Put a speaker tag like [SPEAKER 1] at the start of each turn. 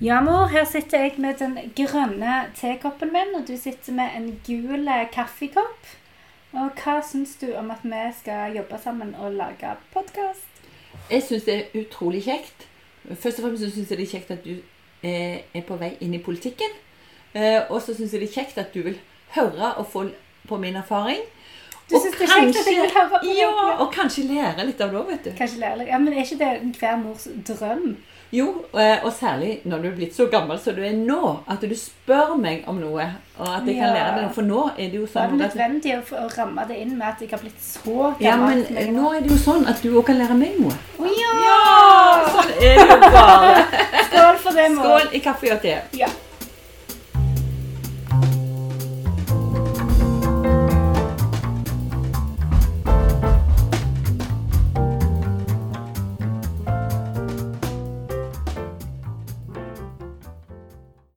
[SPEAKER 1] Ja, mor, her sitter jeg med den grønne tekoppen min, og du sitter med en gul eh, kaffekopp. Og hva syns du om at vi skal jobbe sammen og lage podkast?
[SPEAKER 2] Jeg syns det er utrolig kjekt. Først og fremst så syns jeg det er kjekt at du eh, er på vei inn i politikken. Eh, Og så syns jeg det er kjekt at du vil høre og få på min erfaring.
[SPEAKER 1] Du
[SPEAKER 2] Og
[SPEAKER 1] syns det er kjekt at jeg vil høre på
[SPEAKER 2] kanskje-
[SPEAKER 1] deg?
[SPEAKER 2] Ja, og kanskje lære litt av det òg, vet du.
[SPEAKER 1] Kanskje lære litt. Ja, men er ikke det enhver mors drøm?
[SPEAKER 2] Jo, eh, og særlig når du er blitt så gammel som du er nå, at du spør meg om noe. Og at jeg
[SPEAKER 1] Ja.
[SPEAKER 2] kan lære meg noe. For nå er det jo
[SPEAKER 1] Var det
[SPEAKER 2] sånn at
[SPEAKER 1] nødvendig å, få- å ramme det inn med at jeg har blitt så gammel?
[SPEAKER 2] ja, men
[SPEAKER 1] som jeg
[SPEAKER 2] eh,
[SPEAKER 1] er
[SPEAKER 2] nå er det jo sånn at du òg kan lære meg noe.
[SPEAKER 1] Å ja!
[SPEAKER 2] Sånn er det jo bare.
[SPEAKER 1] Skål for det, mor.
[SPEAKER 2] Skål i kaffe og te.
[SPEAKER 1] Ja.